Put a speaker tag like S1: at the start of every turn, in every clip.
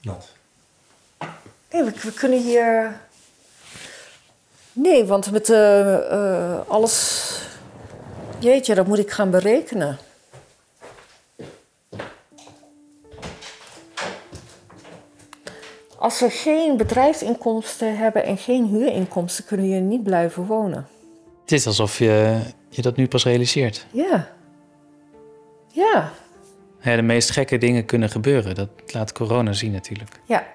S1: nat.
S2: Nee, we, we kunnen hier. Nee, want met eh, eh, alles. Jeetje, dat moet ik gaan berekenen. Als we geen bedrijfsinkomsten hebben en geen huurinkomsten, kunnen we hier niet blijven wonen.
S3: Het is alsof je je dat nu pas realiseert.
S2: Ja. Ja.
S3: Ja, de meest gekke dingen kunnen gebeuren. Dat laat corona zien natuurlijk.
S2: Ja.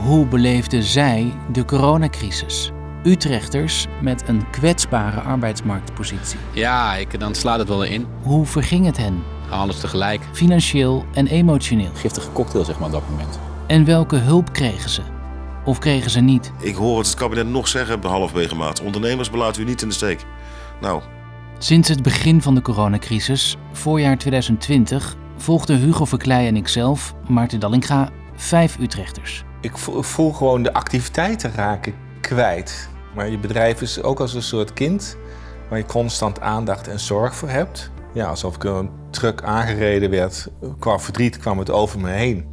S3: Hoe beleefden zij de coronacrisis? Utrechters met een kwetsbare arbeidsmarktpositie.
S4: Ja, ik, dan slaat het wel in.
S3: Hoe verging het hen,
S4: Alles tegelijk.
S3: financieel en emotioneel?
S4: Giftige cocktail, zeg maar, op dat moment.
S3: En welke hulp kregen ze? Of kregen ze niet?
S5: Ik hoor het kabinet nog zeggen halverwege maand. Ondernemers belaat u niet in de steek. Nou,
S3: Sinds het begin van de coronacrisis, voorjaar 2020, volgden Hugo Verkleij en ikzelf, Maarten Dallinga, vijf Utrechters.
S6: Ik vo- ik voel gewoon de activiteiten raken kwijt. Maar je bedrijf is ook als een soort kind waar je constant aandacht en zorg voor hebt. Ja, alsof ik door een truck aangereden werd. Qua verdriet kwam het over me heen.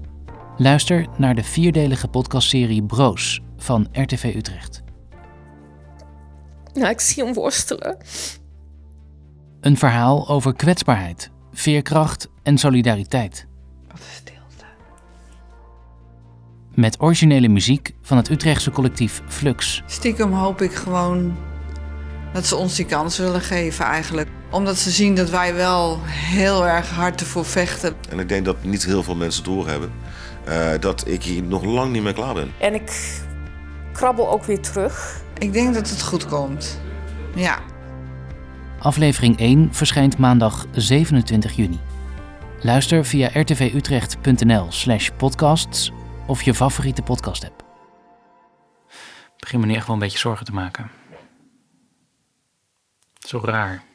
S3: Luister naar de vierdelige podcastserie Broos van RTV Utrecht.
S7: Nou, ik zie hem worstelen.
S3: Een verhaal over kwetsbaarheid, veerkracht en solidariteit.
S7: Wat een stilte.
S3: Met originele muziek van het Utrechtse collectief Flux.
S8: Stiekem hoop ik gewoon dat ze ons die kans willen geven eigenlijk. Omdat ze zien dat wij wel heel erg hard ervoor vechten.
S5: en ik denk dat niet heel veel mensen doorhebben eh dat ik hier nog lang niet mee klaar ben.
S2: En ik krabbel ook weer terug.
S8: Ik denk dat het goed komt. Ja.
S3: Aflevering 1 verschijnt maandag 27 juni. Luister via rtvutrecht.nl/slash podcasts of je favoriete podcast-app. Begin me nu echt wel een beetje zorgen te maken. Zo raar.